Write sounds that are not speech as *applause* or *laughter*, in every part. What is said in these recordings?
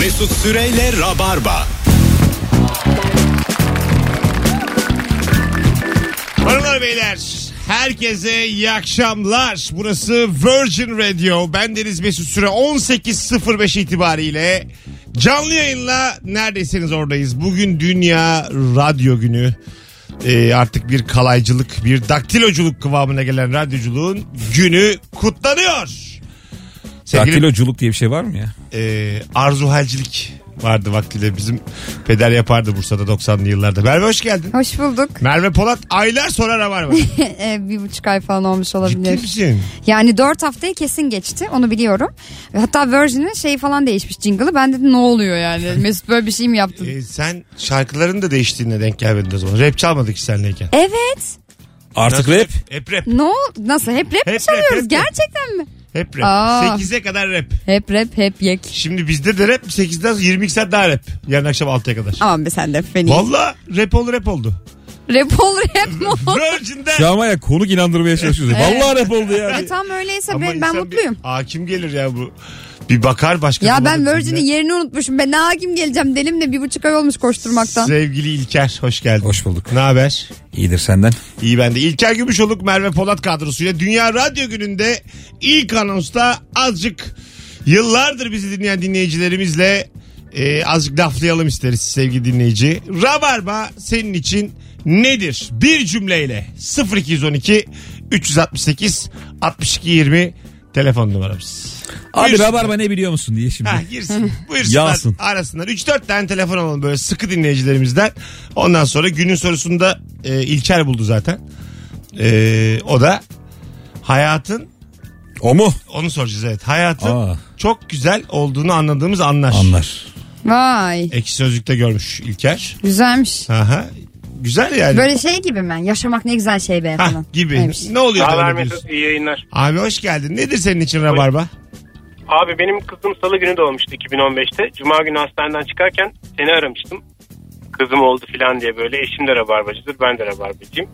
Mesut Süreyle Rabarba. Hanımlar beyler herkese iyi akşamlar. Burası Virgin Radio. Ben Deniz Mesut Süre 18.05 itibariyle canlı yayınla neredeyseniz oradayız. Bugün Dünya Radyo Günü. Ee, artık bir kalaycılık, bir daktiloculuk kıvamına gelen radyoculuğun günü kutlanıyor. Sevgili Daktiloculuk diye bir şey var mı ya? e, arzuhalcilik vardı vaktiyle bizim peder yapardı Bursa'da 90'lı yıllarda. Merve hoş geldin. Hoş bulduk. *laughs* Merve Polat aylar sonra Rabarba. Ee, bir buçuk ay falan olmuş Ciddi olabilir. misin? Yani dört haftayı kesin geçti. Onu biliyorum. Hatta Virgin'in şeyi falan değişmiş jingle'ı. Ben dedim ne oluyor yani? *laughs* Mesut böyle bir şey mi yaptın? Ee, sen şarkıların da değiştiğine denk gelmedin o zaman. Rap çalmadık hiç senleyken. evet. Artık Nasıl rap. Hep rap. Ne ol- Nasıl? Hep rap Hep mi rap, çalıyoruz? hep rap. Gerçekten mi? Hep rap. Aa. 8'e kadar rap. Hep rap, hep yek. Şimdi bizde de rap 8'den 22 saat daha rap. Yarın akşam 6'ya kadar. Aman be sen de feni. Valla rap oldu rap oldu. Rap ol rap mi *laughs* ol? Virgin'den. Şu an var ya konuk inandırmaya çalışıyoruz. Vallahi rap oldu ya. E, tam öyleyse Ama ben, ben insan bir- mutluyum. Aa kim gelir ya bu? Bir bakar başka. Ya zamana ben kimler. Virgin'in yerini unutmuşum. Ben ne hakim geleceğim delimle bir buçuk ay olmuş koşturmaktan. Sevgili İlker hoş geldin. Hoş bulduk. Ne haber? İyidir senden. İyi ben de. İlker Gümüşoluk, Merve Polat kadrosuyla Dünya Radyo Günü'nde ilk anonsta azıcık yıllardır bizi dinleyen dinleyicilerimizle e, azıcık laflayalım isteriz sevgili dinleyici. Rabarba senin için nedir? Bir cümleyle 0212 368 62 20 telefon numaramız. Abi Buyursun. Rabarba ne biliyor musun diye şimdi. Ha, girsin. Buyursunlar. Yağsın. Arasınlar. 3-4 tane telefon alalım böyle sıkı dinleyicilerimizden. Ondan sonra günün sorusunda e, İlker buldu zaten. E, o da hayatın O mu? onu soracağız evet. Hayatın Aa. çok güzel olduğunu anladığımız anlar. Anlar. Vay. Ekşi Sözlük'te görmüş İlker. Güzelmiş. Aha. Güzel yani. Böyle şey gibi mi? Yaşamak ne güzel şey be Hah, falan. gibi. Neymiş. Ne oluyor? da Haber öyle diyorsun? Mesut iyi yayınlar. Abi hoş geldin. Nedir senin için rabarba? Abi benim kızım salı günü doğmuştu 2015'te. Cuma günü hastaneden çıkarken seni aramıştım. Kızım oldu filan diye böyle. Eşim de rabarbacıdır ben de rabarbacıyım.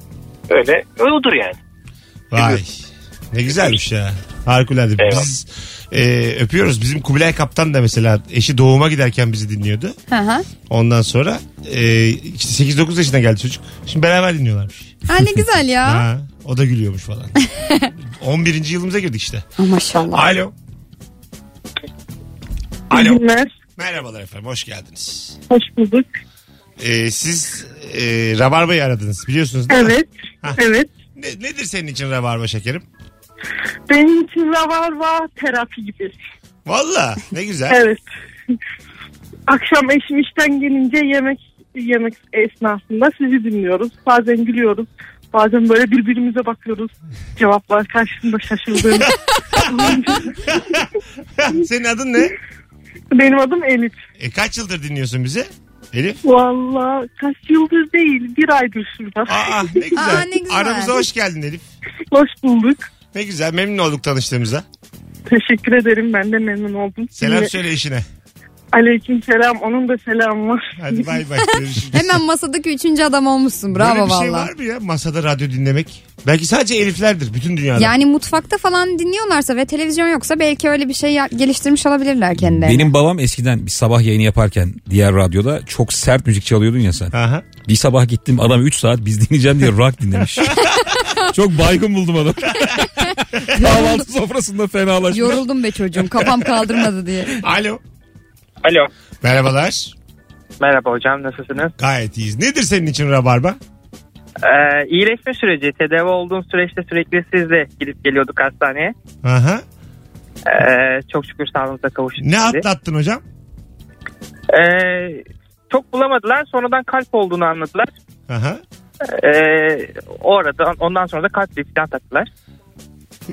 Öyle odur yani. Vay. Ne güzelmiş ya. Harikulade. Eyvallah. Biz e, öpüyoruz. Bizim Kubilay Kaptan da mesela eşi doğuma giderken bizi dinliyordu. Hı hı. Ondan sonra e, işte 8-9 yaşına geldi çocuk. Şimdi beraber dinliyorlarmış. Ha ne *laughs* güzel ya. Ha, o da gülüyormuş falan. 11. yılımıza girdik işte. Maşallah. Alo. Alo. günler. Merhabalar efendim. Hoş geldiniz. Hoş bulduk. E, siz e, Rabarba'yı aradınız biliyorsunuz değil mi? Evet. Hah. Evet. Ne- nedir senin için Rabarba şekerim? Benim için rabarba terapi gibi. Valla ne güzel. Evet. *laughs* Akşam eşim işten gelince yemek yemek esnasında sizi dinliyoruz. Bazen gülüyoruz. Bazen böyle *laughs* birbirimize bakıyoruz. Cevaplar karşımda şaşırdığım. *laughs* senin adın ne? Benim adım Elif. E, kaç yıldır dinliyorsun bizi? Elif? Valla kaç yıldır değil bir aydır şurada. Aa ne güzel. *laughs* Aa, ne güzel. Aramıza hoş geldin Elif. Hoş bulduk. Ne güzel memnun olduk tanıştığımıza. Teşekkür ederim ben de memnun oldum. Selam Şimdi- söyle eşine. Aleyküm selam onun da selamı var. Hadi *laughs* bay bay. Görüşürüz. Hemen masadaki üçüncü adam olmuşsun. Bravo Böyle bir valla. şey var mı ya masada radyo dinlemek? Belki sadece Eliflerdir bütün dünyada. yani mutfakta falan dinliyorlarsa ve televizyon yoksa belki öyle bir şey ya- geliştirmiş olabilirler kendileri. *laughs* Benim babam eskiden bir sabah yayını yaparken diğer radyoda çok sert müzik çalıyordun ya sen. Aha. Bir sabah gittim adam 3 saat biz dinleyeceğim diye rock dinlemiş. *laughs* çok baygın buldum adam. Kahvaltı sofrasında fenalaşmış. Yoruldum be çocuğum kafam kaldırmadı diye. Alo. Alo. Merhabalar. Merhaba hocam nasılsınız? Gayet iyiyiz. Nedir senin için rabarba? Ee, iyileşme süreci, tedavi olduğum süreçte sürekli sizle gidip geliyorduk hastaneye. Aha. Ee, çok şükür sağlığımıza kavuştuk. Ne şimdi. atlattın hocam? Ee, çok bulamadılar. Sonradan kalp olduğunu anladılar. Aha. Ee, o arada ondan sonra da kalp bir falan taktılar.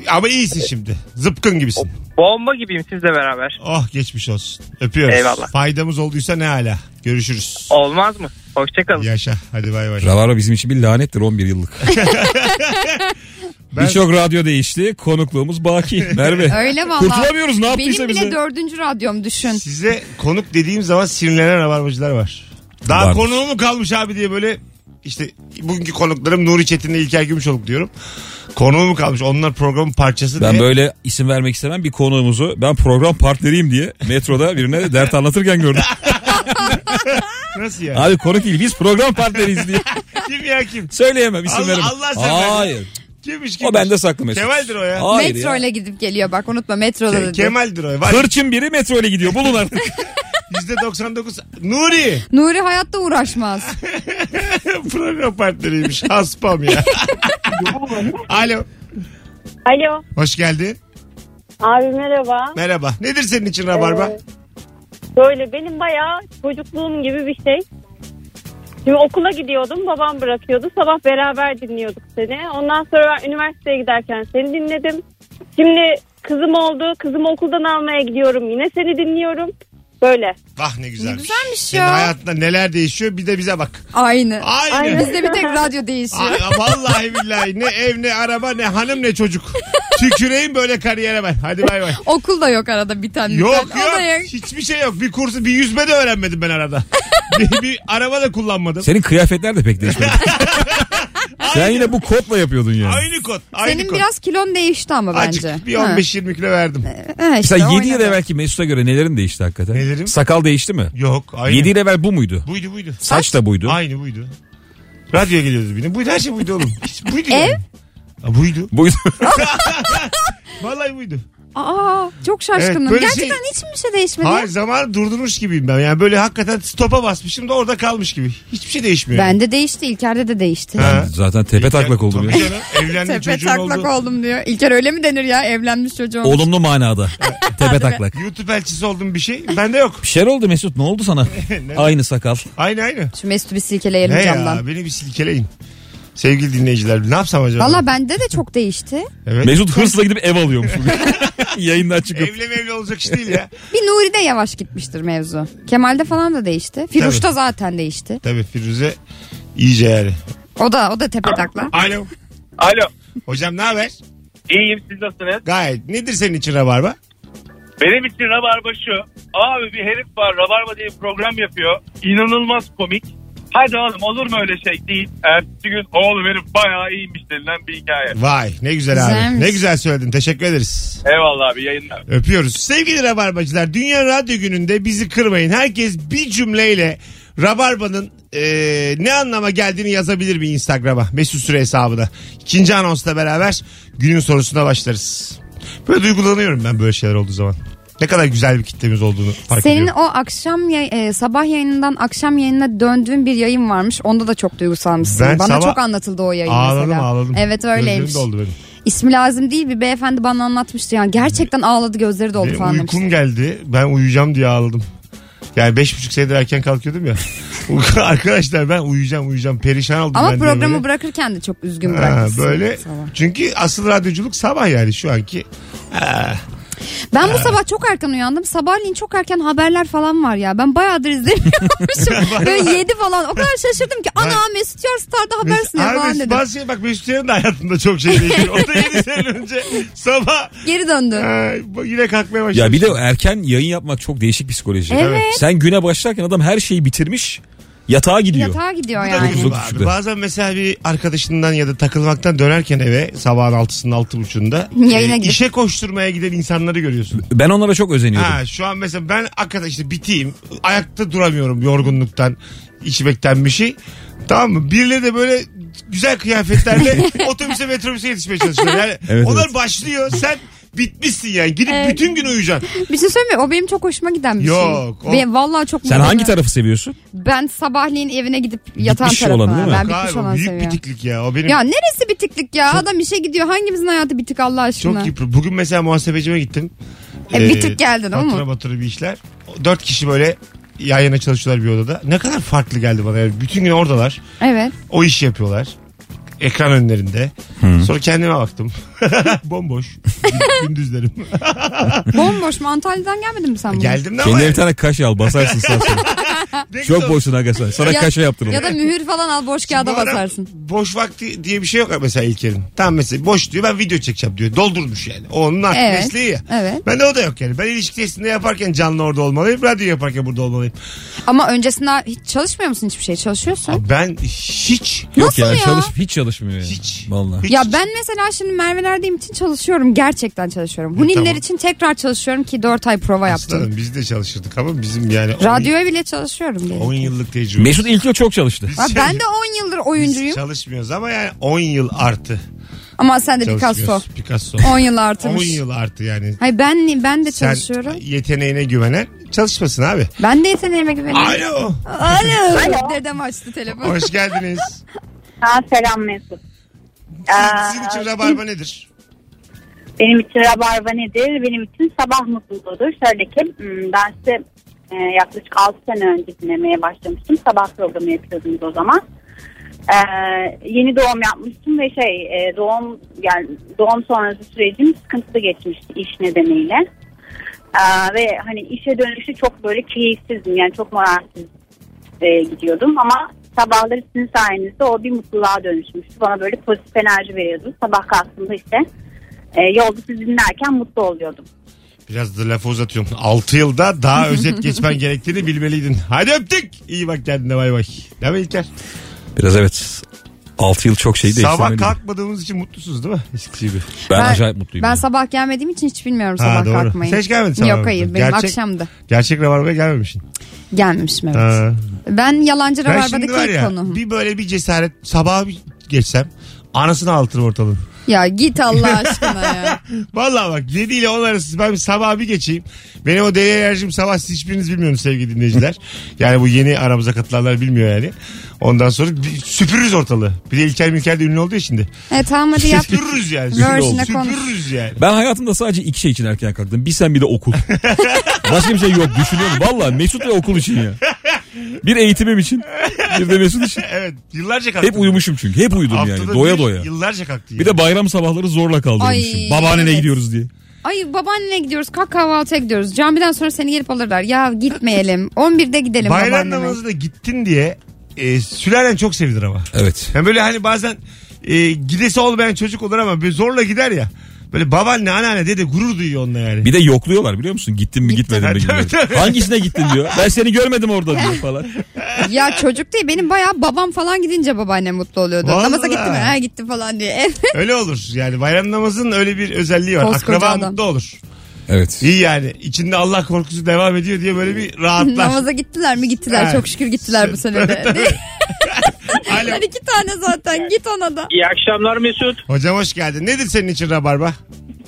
Ama iyisin şimdi. Zıpkın gibisin. Bomba gibiyim sizle beraber. Oh geçmiş olsun. Öpüyoruz. Eyvallah. Faydamız olduysa ne hala. Görüşürüz. Olmaz mı? Hoşçakalın. Yaşa. Hadi bay bay. Rabarba bizim için bir lanettir 11 *laughs* yıllık. *laughs* Ben- Birçok radyo değişti. Konukluğumuz baki. Merve. Öyle valla. Kurtulamıyoruz ne Benim yaptıysa bile bize. dördüncü radyom düşün. Size konuk dediğim zaman sinirlenen rabarbacılar var. Daha Vardır. konuğu mu kalmış abi diye böyle işte bugünkü konuklarım Nuri Çetin ile İlker Gümüşoluk diyorum. Konuğum kalmış. Onlar programın parçası Ben diye. böyle isim vermek istemem bir konuğumuzu ben program partneriyim diye metroda birine dert anlatırken *laughs* gördüm. Nasıl ya? Abi konuk değil biz program partneriyiz diye. Kim ya kim? Söyleyemem isim Allah- veremem. Allah sen ver. Hayır. Kimmiş kimmiş? O bende saklı mesut. Kemal'dir o ya. Hayır metro ya. ile gidip geliyor bak unutma metroda da. Ke- diyor. Kemal'dir o. Var Hırçın biri metro ile gidiyor bulun *laughs* artık. %99. Nuri. *laughs* Nuri hayatta uğraşmaz. Program partneriymiş. Aspam ya. Alo. Alo. Hoş geldin. Abi merhaba. Merhaba. Nedir senin için rabarba? Ee, Böyle benim bayağı çocukluğum gibi bir şey. Şimdi okula gidiyordum babam bırakıyordu. Sabah beraber dinliyorduk seni. Ondan sonra ben üniversiteye giderken seni dinledim. Şimdi kızım oldu. Kızımı okuldan almaya gidiyorum. Yine seni dinliyorum. Böyle. Vah ne güzelmiş. Güzelmiş Senin ya. hayatında neler değişiyor bir de bize bak. Aynı. Aynı. Bizde bir tek *laughs* radyo değişiyor. Ay, vallahi billahi ne ev ne araba ne hanım ne çocuk. Tüküreyim böyle kariyere ben. Hadi bay bay. Okul da yok arada bir tane. Yok yok O da yok. hiçbir şey yok. Bir kursu bir yüzme de öğrenmedim ben *laughs* arada. bir, bir araba da kullanmadım. Senin kıyafetler de pek *laughs* değişmedi. Sen yine bu kotla yapıyordun yani. Aynı kod. Aynı Senin kod. biraz kilon değişti ama bence. Azıcık bir Ha. 15-20 kilo verdim. Ha, işte Mesela 7 yıl oynadı. evvelki Mesut'a göre nelerin değişti hakikaten? Nelerim? Sakal değişti mi? Yok aynı. 7 yıl evvel bu muydu? Buydu buydu. Saç da buydu. Aynı buydu. Radyoya geliyoruz benim. Buydu her şey buydu oğlum. Hiç buydu. Ev? yani. Ha, buydu. Buydu. Vallahi buydu. Aa çok şaşkınım. Evet, böyle Gerçekten şey- hiç mi şey değişmedi? Hayır zamanı durdurmuş gibiyim ben. Yani böyle hakikaten stopa basmışım da orada kalmış gibi. Hiçbir şey değişmiyor. Bende değişti. İlker'de de değişti. Ha. Zaten tepe taklak oldum Tabii ya. canım. Evlendi Tepe çocuğun taklak oldu. oldum diyor. İlker öyle mi denir ya evlenmiş çocuğu? olmuş. Olumlu manada. tepe taklak. YouTube elçisi oldum bir şey. Bende yok. Bir şeyler oldu Mesut ne oldu sana? Aynı sakal. Aynı aynı. Şu Mesut'u bir silkeleyelim Ne camdan. ya beni bir silkeleyin. Sevgili dinleyiciler ne yapsam acaba? Valla bende de çok değişti. Evet. Mesut hırsla gidip ev alıyormuş bugün. Yayından çıkıp. Evli mevli olacak iş değil ya. *laughs* Bir Nuri'de yavaş gitmiştir mevzu. Kemal'de falan da değişti. Firuş'ta zaten değişti. Tabii Firuze iyice yani. O da o da tepe takla. Alo. Alo. Hocam ne haber? İyiyim siz nasılsınız? Gayet. Nedir senin için rabarba? Benim için Rabarba şu. Abi bir herif var Rabarba diye bir program yapıyor. İnanılmaz komik. Hadi oğlum olur mu öyle şey değil. Ertesi gün oğlum herif bayağı iyiymiş denilen bir hikaye. Vay ne güzel abi. Güzelmiş. Ne güzel söyledin. Teşekkür ederiz. Eyvallah abi yayınlar. Öpüyoruz. Sevgili Rabarbacılar Dünya Radyo Günü'nde bizi kırmayın. Herkes bir cümleyle Rabarba'nın e, ne anlama geldiğini yazabilir mi Instagram'a? Mesut Süre hesabına. İkinci anonsla beraber günün sorusuna başlarız. Böyle duygulanıyorum ben böyle şeyler olduğu zaman. Ne kadar güzel bir kitlemiz olduğunu fark Senin ediyorum. o akşam yay- e, sabah yayınından akşam yayınına döndüğün bir yayın varmış. Onda da çok duygusalmışsın. Ben Bana sabah- çok anlatıldı o yayın Ağladım mesela. ağladım. Evet Gözlerim öyleymiş. doldu benim. İsmi lazım değil bir beyefendi bana anlatmıştı. Yani gerçekten ağladı gözleri doldu Benim falan demişti. uykum geldi. Ben uyuyacağım diye ağladım. Yani beş buçuk senedir erken kalkıyordum *laughs* ya. Arkadaşlar ben uyuyacağım uyuyacağım. Perişan oldum Ama ben de programı böyle. bırakırken de çok üzgün Ha, bırakmışsın. böyle sabah. çünkü asıl radyoculuk sabah yani şu anki Ben bu sabah çok erken uyandım. Sabahleyin çok erken haberler falan var ya. Ben *laughs* bayağıdır izlemiyormuşum. Böyle yedi falan. O kadar şaşırdım ki. Ana Mesut Yar Star'da haber Mes- sunuyor falan Abi dedim. bazı şey bak Mesut Yarın da hayatında çok şey değişiyor. O da *laughs* yeni sene önce sabah Geri döndü. ha, bu- yine kalkmaya başladı. Ya bir de erken yayın yapmak çok değişik psikoloji. Evet. Sen güne başlarken adam her şeyi bitirmiş yatağa gidiyor. Yatağa gidiyor Bu da yani. kızım Yani. abi. Bazen mesela bir arkadaşından ya da takılmaktan dönerken eve sabahın altısının altı buçuğunda Yayına e, gidip. işe koşturmaya giden insanları görüyorsun. Ben onlara çok özeniyorum. Ha, şu an mesela ben hakikaten işte biteyim. Ayakta duramıyorum yorgunluktan, içmekten bir şey. Tamam mı? Birileri de böyle *laughs* güzel kıyafetlerle otobüse metrobüse yetişmeye çalışıyor. Yani Evet, onlar evet. başlıyor. Sen bitmişsin yani. Gidip Evet. bütün gün uyuyacaksın. Bir şey söyleyeyim mi? O benim çok hoşuma giden bir Yok, şey. o- Ben vallahi çok Sen mutluyum. hangi tarafı seviyorsun? Ben sabahleyin evine gidip yatan Bitmiş tarafa. olan değil mi? Ben Galiba bitmiş olan büyük seviyorum. bitiklik ya. O benim Ya neresi bitiklik ya? Adam işe gidiyor. Hangimizin hayatı bitik Allah aşkına? çok yıpr- Bugün mesela muhasebecime gittim. Ee, E, bitik geldin, ama. Batıra batıra bir işler. Dört kişi böyle yan yana çalışıyorlar bir odada. Ne kadar farklı geldi bana. Yani bütün gün oradalar. *laughs* Evet. O işi yapıyorlar. Ekran önlerinde. Sonra kendime baktım. *laughs* Bomboş. *laughs* Gündüzlerim. E, Bomboş mu? Antalya'dan gelmedin mi sen bugün? Geldim de ama. Kendine bir tane kaş al basarsın sen sonra. Ne Çok güzel. boşsun aga sen. Sana Ya- kaşe yaptırılır. Ya da mühür falan al boş Bu kağıda adam basarsın. Boş vakti diye bir şey yok mesela İlker'in. Tam mesela boş diyor ben video çekeceğim diyor. Doldurmuş yani. O onun artık Evet, mesleği ya. evet. Ben de o da yok yani. Ben ilişki testinde yaparken canlı orada olmalıyım. Radyo yaparken burada olmalıyım. Ama öncesinde hiç çalışmıyor musun hiçbir şey? Çalışıyorsun. Abi Ben hiç Yok Nasıl ya, ya? Çalış, hiç çalışmıyor yani. Hiç. Vallahi. Hiç. Ya ben mesela şimdi Merve'lerdeyim için çalışıyorum. Gerçekten çalışıyorum. Huniller tamam. için tekrar çalışıyorum ki 4 ay prova yaptım. Aslanım biz de çalışırdık ama bizim yani on- Radyoya bile çalışıyorum. diye. 10 yıllık tecrübe. Mesut ilk yıl çok çalıştı. Şey- Ha, ben de 10 yıldır Biz oyuncuyum. çalışmıyoruz ama yani 10 yıl artı. Ama sen de Picasso. çalışmıyoruz. Picasso. 10 yıl 10 artırmış. yıl artı yani. Hayır ben ben de Sen çalışıyorum. yeteneğine güvenen çalışmasın abi. Ben de yeteneğime güveniyorum. Alo. Alo. *laughs* Dedem açtı telefonu. Hoş *laughs* geldiniz. Ha, selam Mesut. Aa, Sizin için rabarba nedir? Benim için rabarba nedir? Benim için sabah mutluluğudur. Şöyle ki hmm, ben size e, yaklaşık 6 sene önce dinlemeye başlamıştım. Sabah programı yapıyordunuz o zaman. Ee, yeni doğum yapmıştım ve şey e, doğum yani doğum sonrası sürecim sıkıntılı geçmişti iş nedeniyle. Ee, ve hani işe dönüşü çok böyle keyifsizdim yani çok moralsiz e, gidiyordum ama sabahları sizin sayenizde o bir mutluluğa dönüşmüştü. Bana böyle pozitif enerji veriyordu. Sabah kalktığımda işte e, yolda sizi dinlerken mutlu oluyordum. Biraz da lafı uzatıyorum. 6 yılda *laughs* daha özet geçmen gerektiğini bilmeliydin. Hadi öptük. İyi bak kendine bay bay. Değil mi İlker? Biraz evet. 6 yıl çok şey değişti. Sabah kalkmadığımız için mutlusunuz değil mi? Eskisi gibi. Ben, acayip mutluyum. Ben ya. sabah gelmediğim için hiç bilmiyorum Ha, sabah doğru. kalkmayı. Sen hiç gelmedin sabah Yok hayır benim Gerçek- akşamdı. Gerçek rabarbaya gelmemişsin. Gelmişim evet. Ha. Ben yalancı Ben şimdi var rabarbadaki ilk ya konuğum. bir böyle bir cesaret sabah bir geçsem anasını altın ortalığın. Ya git Allah *laughs* aşkına ya. Vallahi bak 7 ile 10 arası ben bir sabah bir geçeyim. Benim o deli enerjim sabah siz hiçbiriniz bilmiyorsunuz *laughs* sevgili dinleyiciler. yani bu yeni aramıza katılanlar bilmiyor yani. Ondan sonra bir süpürürüz ortalığı. Bir de İlker Milker de ünlü oldu ya şimdi. E tamam hadi yap. Süpürürüz yani. Virgin'e konuş. Süpürürüz yani. Ben hayatımda sadece iki şey için erken kalktım. Bir sen bir de *laughs* okul. Başka bir şey yok düşünüyorum. Valla Mesut ve okul için ya. Bir eğitimim için. Bir de Mesut için. Evet yıllarca kalktım. Hep uyumuşum çünkü. Hep uyudum Haftada yani. Doya bir, doya. Yıllarca kalktım. Bir de bayram sabahları zorla Ay, kaldırmışım. Babaannene evet. gidiyoruz diye. Ay babaannene gidiyoruz kalk kahvaltıya gidiyoruz. Camiden sonra seni gelip alırlar. Ya gitmeyelim. 11'de gidelim bayram babaanneme. namazına gittin diye e, sülalen çok sevinir ama. Evet. Yani böyle hani bazen e, gidesi olmayan çocuk olur ama bir zorla gider ya. Böyle babaanne anneanne dede gurur duyuyor onunla yani. Bir de yokluyorlar biliyor musun? Gittin mi gitmedin mi? Tabii, gibi. *laughs* tabii. Hangisine gittin diyor. Ben seni görmedim orada *laughs* diyor falan. Ya çocuk değil benim bayağı babam falan gidince babaannem mutlu oluyordu. Vallahi. Namaza gitti mi? Ha gitti falan diye. E, Evet. Öyle olur. Yani bayram namazının öyle bir özelliği var. Koskoca Akraba adam. mutlu olur. Evet. İyi yani. İçinde Allah korkusu devam ediyor diye böyle bir rahatlar. Namaza gittiler mi? Gittiler. Evet. Çok şükür gittiler bu *laughs* sene de. Alo. Lan iki tane zaten git ona da. İyi akşamlar Mesut. Hocam hoş geldin. Nedir senin için rabarba?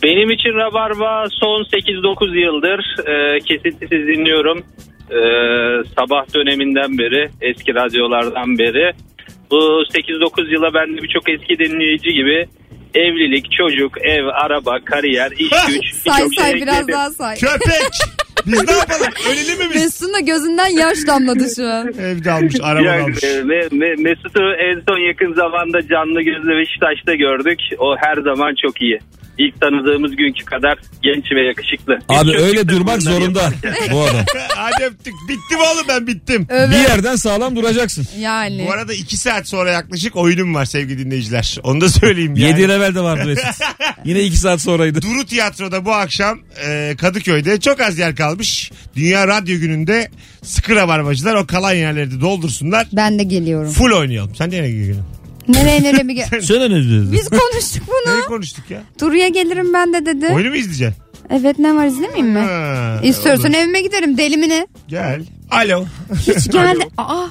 Benim için Rabarba son 8-9 yıldır e, kesintisiz dinliyorum. E, sabah döneminden beri, eski radyolardan beri. Bu 8-9 yıla ben de birçok eski dinleyici gibi evlilik, çocuk, ev, araba, *laughs* kariyer, iş güç Say birçok say şey biraz ekledim. daha say. Köpek. Biz ne yapalım? Ölelim mi biz? Mesut'un da gözünden yaş damladı şu an. Evde almış, araba Yani, almış. e, Me- Me- Mesut'u en son yakın zamanda canlı gözle Beşiktaş'ta gördük. O her zaman çok iyi. İlk tanıdığımız günkü kadar genç ve yakışıklı. Abi Biz öyle çocuktuk durmak bunları zorunda yaparken. bu adam. Hadi öptük. Bittim oğlum ben bittim. Bir *laughs* Evet. yerden sağlam duracaksın. Yani. Bu arada iki saat sonra yaklaşık oyunum var sevgili dinleyiciler. Onu da söyleyeyim yani. 7 yıl evvel de vardı *laughs* Mesut. Yine 2 saat sonraydı. Duru Tiyatro'da bu akşam e, Kadıköy'de çok az yer kalmış. Dünya Radyo Günü'nde sıkı rabarbacılar o kalan yerleri de doldursunlar. Ben de geliyorum. Full oynayalım. Sen nereye gidiyorsun? Nereye nereye bir *laughs* ge- Söyle ne dedin? Biz konuştuk Nereye bunu. konuştuk ya? Duru'ya gelirim ben de dedi. Oyunu mu izleyeceksin? Evet ne var izlemeyeyim mi? Ha, İstiyorsan olur. evime giderim deli mi ne? Gel. Alo. Hiç geldi. Aa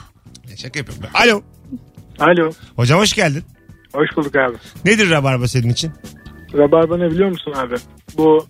Ne Şaka yapıyorum ben. Alo. Alo. Hocam hoş geldin. Hoş bulduk abi. Nedir rabarba senin için? Rabarba ne biliyor musun abi? Bu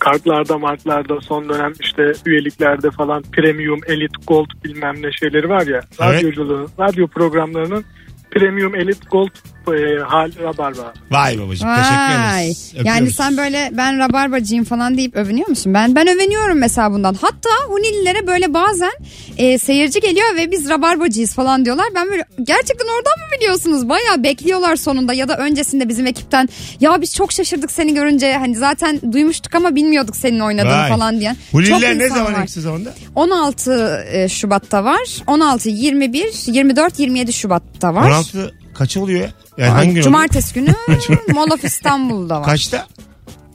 kartlarda martlarda son dönem işte üyeliklerde falan premium, elite, gold bilmem ne şeyleri var ya. Evet. Radyoculuğun, radyo programlarının premium, elite, gold e, hali rabarba. Vay babacığım teşekkür Vay. ederiz. Yani Öpüyoruz. sen böyle ben rabarbacıyım falan deyip övünüyor musun? Ben ben öveniyorum mesela bundan. Hatta Hunililere böyle bazen e, seyirci geliyor ve biz rabarbacıyız falan diyorlar. Ben böyle gerçekten oradan mı biliyorsunuz? Bayağı bekliyorlar sonunda ya da öncesinde bizim ekipten. Ya biz çok şaşırdık seni görünce. Hani zaten duymuştuk ama bilmiyorduk senin oynadığını Vay. falan diyen. Çok Hulililer ne insan zaman var. eksi zamanda? 16 e, Şubat'ta var. 16, 21, 24, 27 Şubat'ta var. 16 kaçı oluyor ya? Yani e, hangi gün oluyor? Cumartesi günü *laughs* Mall of İstanbul'da var. Kaçta?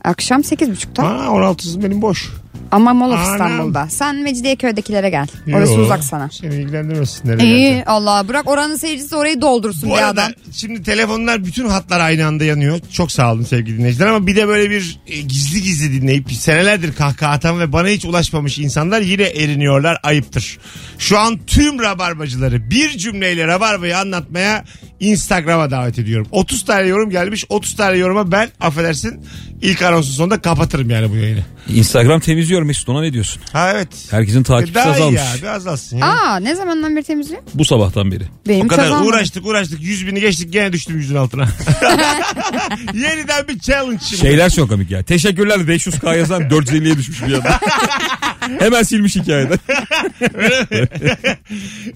Akşam 8.30'da. Aa 16'sı benim boş. Ama Mall of Anam. İstanbul'da. Sen Mecidiyeköy'dekilere gel. Orası Yo. uzak sana. Seni ilgilendirmez. Nereye İyi geleceğim. Allah bırak oranın seyircisi orayı doldursun Bu bir arada adam. şimdi telefonlar bütün hatlar aynı anda yanıyor. Çok sağ olun sevgili dinleyiciler ama bir de böyle bir e, gizli gizli dinleyip senelerdir kahkaha atan ve bana hiç ulaşmamış insanlar yine eriniyorlar ayıptır. Şu an tüm rabarbacıları bir cümleyle rabarbayı anlatmaya Instagram'a davet ediyorum. 30 tane yorum gelmiş 30 tane yoruma ben affedersin ilk anonsun sonunda kapatırım yani bu yayını. Instagram temizliyor Mesut ona ne diyorsun? Ha evet. Herkesin E, takipçisi Daha iyi azalmış. ya bir azalsın ya. Aa ne zamandan beri temizliyor? Bu sabahtan beri. Benim O kadar kazanmadım. uğraştık uğraştık 100 bini geçtik gene düştüm yüzün *laughs* altına. Yeniden bir challenge şimdi. Şeyler çok komik ya. Teşekkürler 500k yazan 450'ye düşmüş bir *laughs* anda. Hemen silmiş hikayeden.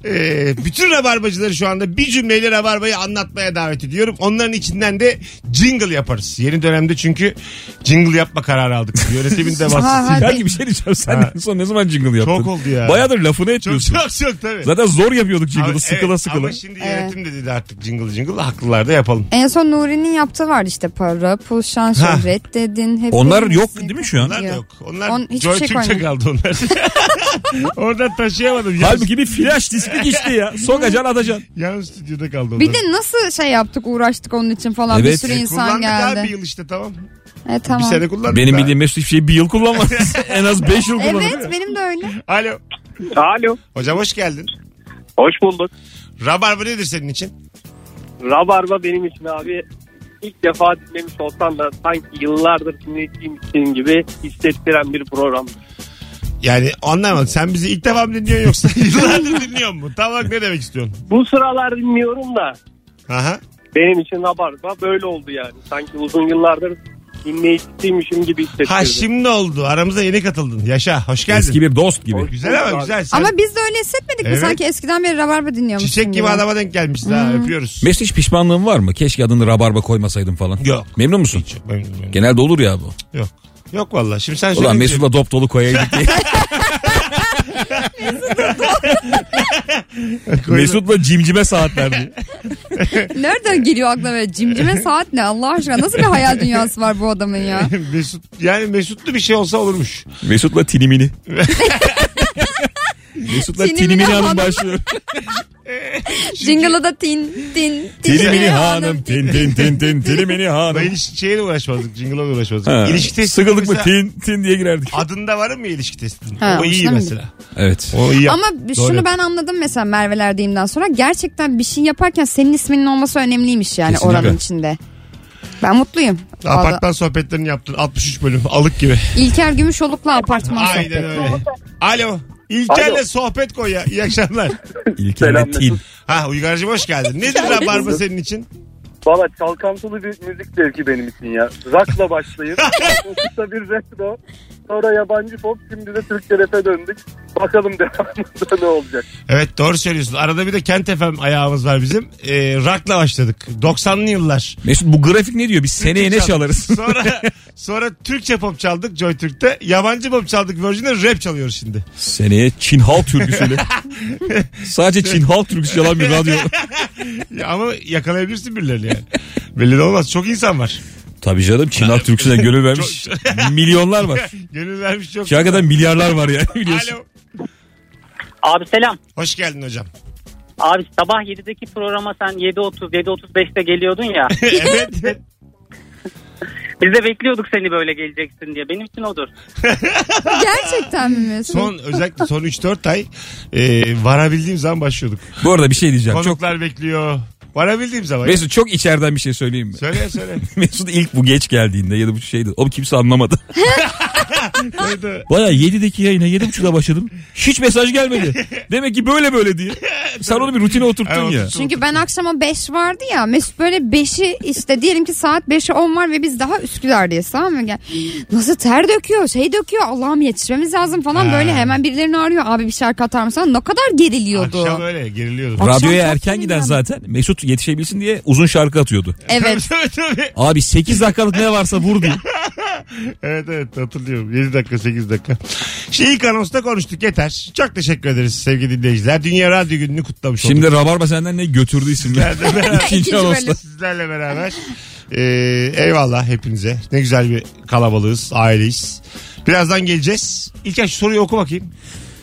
Ee, bütün rabarbacıları şu anda bir cümleyle rabarbayı anlatmaya davet ediyorum. Onların içinden de jingle yaparız. Yeni dönemde çünkü jingle yapma kararı *laughs* aldık. Yönetimin de Ha, ha. bahsettiği. Belki bir şey diyeceğim senden son ne zaman jingle yaptın? Çok oldu ya. Bayağıdır lafını çok etmiyorsun. çok çok tabii. Zaten zor yapıyorduk jingle'ı Ama- sıkıla evet, sıkıla. Ama şimdi yönetim de dedi artık jingle jingle haklılar da yapalım. En son Nuri'nin yaptığı vardı işte para, pul, Ha. şan, şöhret dedin. Hep Onlar dedin. yok değil mi şu an? Onlar da Yok. yok. Onlar On- hiçbir Joy şey Türkçe kaldı *laughs* onlar. Oradan taşıyamadım. Yan, Halbuki bir flash diski geçti *laughs* ya. Sokacan atacaksın. yan stüdyoda kaldı onlar. Bir de nasıl şey yaptık uğraştık onun için falan bir Evet. sürü E, insan kullandık geldi. abi yıl işte tamam. E, tamam. Bir sene kullandık. Benim daha. bildiğim Mesut hiçbir şeyi bir yıl *laughs* kullanmaz. en az 5 yıl kullanır. Evet benim de öyle. Alo. Alo. Hocam hoş geldin. Hoş bulduk. Rabarba nedir senin için? Rabarba benim için abi ilk defa dinlemiş olsam da sanki yıllardır dinlediğim için gibi hissettiren bir program. Yani anlamadım. Sen bizi ilk defa mı dinliyorsun yoksa *laughs* yıllardır dinliyor mu? Tam olarak ne demek istiyorsun? Bu sıralar dinliyorum da Aha. benim için Rabarba böyle oldu yani. Sanki uzun yıllardır dinleyiciymişim gibi hissettirdi. Ha şimdi oldu. Aramıza yeni katıldın. Yaşa. Hoş geldin. Eski bir dost gibi. Güzel ama güzel. Sen Ama biz de öyle hissetmedik Evet. mi? Sanki eskiden beri rabarba dinliyormuşsun çiçek gibi adama denk gelmişsin ha. Hmm. Öpüyoruz. Mesut hiç pişmanlığın var mı? Keşke adını rabarba koymasaydım falan. Yok. Memnun musun? Hiç yok. Memnun, memnun. Genelde olur ya bu. Yok. Yok valla. Şimdi sen Ulan söyle. Mesut'la dop dolu koyaydık *laughs* diye. Mesut'la cimcime saatler diye. Nereden geliyor aklına böyle cimcime saat ne Allah aşkına? Nasıl bir hayal dünyası var bu adamın ya? *laughs* Mesut yani Mesutlu bir şey olsa olurmuş. Mesut'la *laughs* tinimini. Mesut'la Tinimini tinimini hanım hanım. *laughs* başlıyor. Jingle'ı da tin tin tin. tinimini hanım tin tin tin *laughs* tin tinimini Ben hanım. hiç şeyle uğraşmazdık, jingle'la da uğraşmazdık. Ha. İlişki testi Sıkıldık mı mesela tin tin diye girerdik. Adında varım ya ilişki testinin. Ha, o iyi hoşuna mı mesela. Evet. O iyi. Ama şunu Doğru. ben anladım mesela Merve'lerdeğimden sonra gerçekten bir şey yaparken senin isminin olması önemliymiş yani Kesinlikle. oranın içinde. Ben mutluyum. Valla- Apartman sohbetlerini yaptın 63 bölüm alık gibi. İlker Gümüşoluk'la apartman Aynen sohbeti. öyle. Alo. İlker'le sohbet koy ya. İyi akşamlar. İlker'le tin. ha Uygar'cığım hoş geldin. Nedir rabarba senin için? Valla çalkantılı bir müzik zevki benim için ya. Rock'la *laughs* başlayıp kısa bir retro. Sonra yabancı pop şimdi de Türkçe rap'e döndük. Bakalım devamında ne olacak. Evet doğru söylüyorsun. Arada bir de Kent FM ayağımız var bizim. Ee, rock'la başladık. 90'lı yıllar. Mesut bu grafik ne diyor? Biz seneye ne Türkçe çalarız? *laughs* Sonra sonra Türkçe pop çaldık Joy Türk'te. Yabancı pop çaldık Virgin'de rap çalıyoruz şimdi. seneye Çin halk *laughs* türküsüyle. Sadece Çin halk türküsü çalan bir radyo. Ya ama yakalayabilirsin *laughs* birilerini yani. Belli de olmaz. Çok insan var. Tabii canım Çin halk türküsüne gönül vermiş. milyonlar var. Gönül vermiş çok. Şu hakikaten milyarlar var yani biliyorsun. Alo. Abi selam. Hoş geldin hocam. Abi sabah 7'deki programa sen 7.30 7.35'te geliyordun ya. evet. *laughs* Biz de bekliyorduk seni böyle geleceksin diye. Benim için odur. Gerçekten mi Mesut? Son özellikle son 3-4 ay e, varabildiğim zaman başlıyorduk. Bu arada bir şey diyeceğim. Çok, Konuklar bekliyor. Varabildiğim zaman. Mesut çok içeriden bir şey söyleyeyim mi? Söyle söyle. *laughs* Mesut ilk bu geç geldiğinde ya da bu şeydi. O kimse anlamadı. Baya 7'deki yayına 7.30'da başladım. Hiç mesaj gelmedi. Demek ki böyle böyle *laughs* diye. Sen onu bir rutine oturttun Evet, ya. Çünkü ben akşama 5 vardı ya Mesut böyle 5'i işte diyelim ki saat 5'e 10 var ve biz daha Üsküdar'dayız tamam mı? Gel. Nasıl ter döküyor şey döküyor Allah'ım yetişmemiz lazım falan Ha. böyle hemen birilerini arıyor abi bir şarkı atar mısın? Ne kadar geriliyordu. Akşam öyle geriliyordu. Akşam Radyoya çok erken giden sinirlendim. zaten Mesut yetişebilsin diye uzun şarkı atıyordu. Evet. *laughs* tabii tabii. Abi 8 dakikalık ne varsa vur diye. Evet evet hatırlıyorum. 7 dakika 8 dakika. Şimdi ilk anonsta konuştuk yeter. Çok teşekkür ederiz sevgili dinleyiciler. Dünya Radyo Günü'nü kutlamış Şimdi olduk. Rabarba senden ne götürdü isimler. Sizlerle *laughs* beraber- İkinci İkinci anonsla. bölüm. Sizlerle beraber. Ee, eyvallah hepinize. Ne güzel bir kalabalığız, aileyiz. Birazdan geleceğiz. İlker şu soruyu oku bakayım.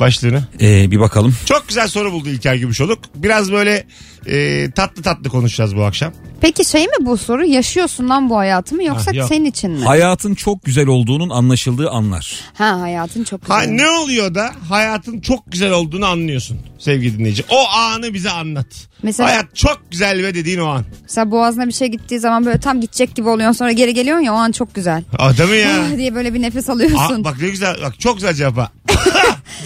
Başlığını. Ee, bir bakalım. Çok güzel soru buldu İlker Gümüşoluk. Biraz böyle e, tatlı tatlı konuşacağız bu akşam. Peki şey mi bu soru yaşıyorsun lan bu hayatı mı yoksa Ha, yok. senin için *laughs* mi? Hayatın çok güzel olduğunun anlaşıldığı anlar. Ha hayatın çok güzel. Ha, ne oluyor da hayatın çok güzel olduğunu anlıyorsun sevgili dinleyici. O anı bize anlat. Mesela- Hayat çok güzel ve dediğin o an. Mesela boğazına bir şey gittiği zaman böyle tam gidecek gibi oluyorsun sonra geri geliyorsun ya o an çok güzel. Adamı ya. Ah *laughs* diye böyle bir nefes alıyorsun. Aa, bak ne güzel. Bak çok güzel cevap. *laughs* ha.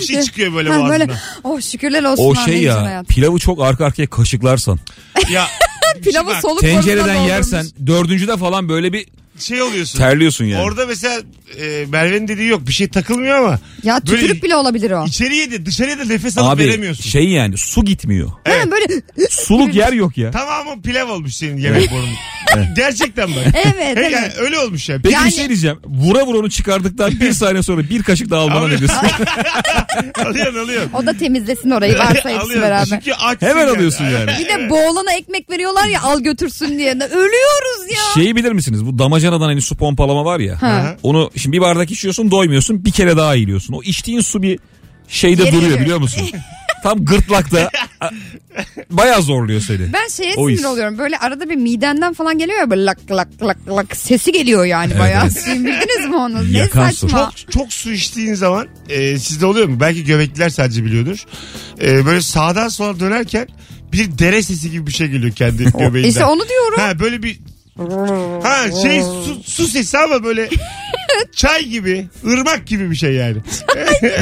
bir şey çıkıyor böyle Ha, boğazından. böyle oh şükürler olsun. O lan, ne şey güzel ya hayat. pilavı çok arka arkaya kaşıklarsan. *laughs* Ya şey Pilavı bak, soluk borusuna Tencereden doldurmuş. yersen dördüncüde falan böyle bir şey oluyorsun. terliyorsun yani. Orada mesela e, Merve'nin dediği yok. Bir şey takılmıyor ama. Ya Böyle tükürük bile olabilir o. İçeriye de dışarıya da nefes alıp Abi veremiyorsun. şey yani su gitmiyor. Hemen böyle *laughs* Suluk yer yok ya. Tamamı pilav olmuş senin yemek borun. Gerçekten *laughs* bak. Evet, Yani evet. öyle olmuş ya. Peki E, Yani- bir şey diyeceğim. Vura vura onu çıkardıktan *laughs* bir saniye sonra bir kaşık daha almana Abi- ne diyorsun? alıyorsun alıyorsun. o da temizlesin orayı varsa hepsi Alıyorsun. beraber. Çünkü açsın Hemen yani. alıyorsun yani. Bir de boğulana ekmek veriyorlar ya al götürsün diye. Ölüyoruz ya. Şeyi bilir misiniz? Bu damacanadan hani su pompalama var ya. Ha. Onu şimdi bir bardak içiyorsun doymuyorsun bir kere daha iyiliyorsun. O içtiğin su bir şeyde Yeri duruyor geliyor. biliyor *laughs* musun? Tam gırtlakta. A- Bayağı zorluyor seni. Ben şeye O sinir his. oluyorum. Böyle arada bir midenden falan geliyor ya böyle lak lak lak lak sesi geliyor yani bayağı. evet. Sizin bildiniz mi onu? Ne Yakan su. saçma. Çok, çok su içtiğin zaman e, sizde oluyor mu? Belki göbekliler sadece biliyordur. E, böyle sağdan sola dönerken bir dere sesi gibi bir şey geliyor kendi göbeğinden. İşte onu diyorum. Ha böyle bir ha şey su, su sesi ama böyle çay gibi, ırmak gibi bir şey yani.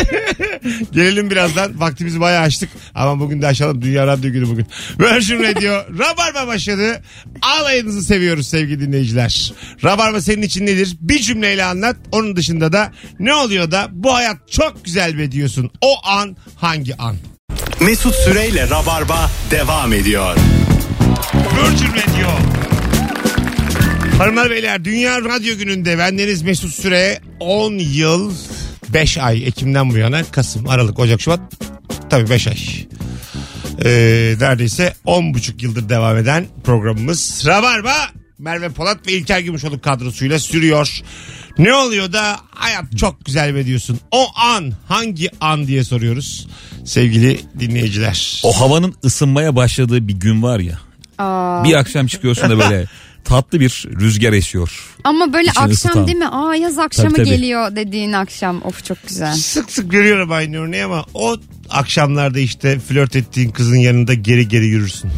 *laughs* Gelelim birazdan. Vaktimizi bayağı açtık. Ama bugün de aşalım. Dünya Radyo Günü bugün. Virgin Radio. Rabarba başladı. Ağlayınızı seviyoruz sevgili dinleyiciler. Rabarba senin için nedir? Bir cümleyle anlat. Onun dışında da ne oluyor da bu hayat çok güzel be diyorsun. O an hangi an? Mesut Süreyle Rabarba devam ediyor. Virgin Radio. Hanımlar beyler Dünya Radyo Günü'nde bendeniz Mesut Süre 10 yıl 5 ay Ekim'den bu yana Kasım, Aralık, Ocak, Şubat tabii 5 ay. Ee, neredeyse 10,5 yıldır devam eden programımız Rabarba Merve Polat ve İlker Gümüşoluk kadrosuyla sürüyor. Ne oluyor da hayat çok güzel be diyorsun. O an hangi an diye soruyoruz sevgili dinleyiciler. O havanın ısınmaya başladığı bir gün var ya. Aa, Bir akşam çıkıyorsun da *laughs* böyle tatlı bir rüzgar esiyor. ama böyle İçini akşam ısıtan. değil mi? Aa yaz akşamı tabii. geliyor dediğin akşam. Of çok güzel. Sık sık görüyorum aynı örneği ama o akşamlarda işte flört ettiğin kızın yanında geri geri yürürsün.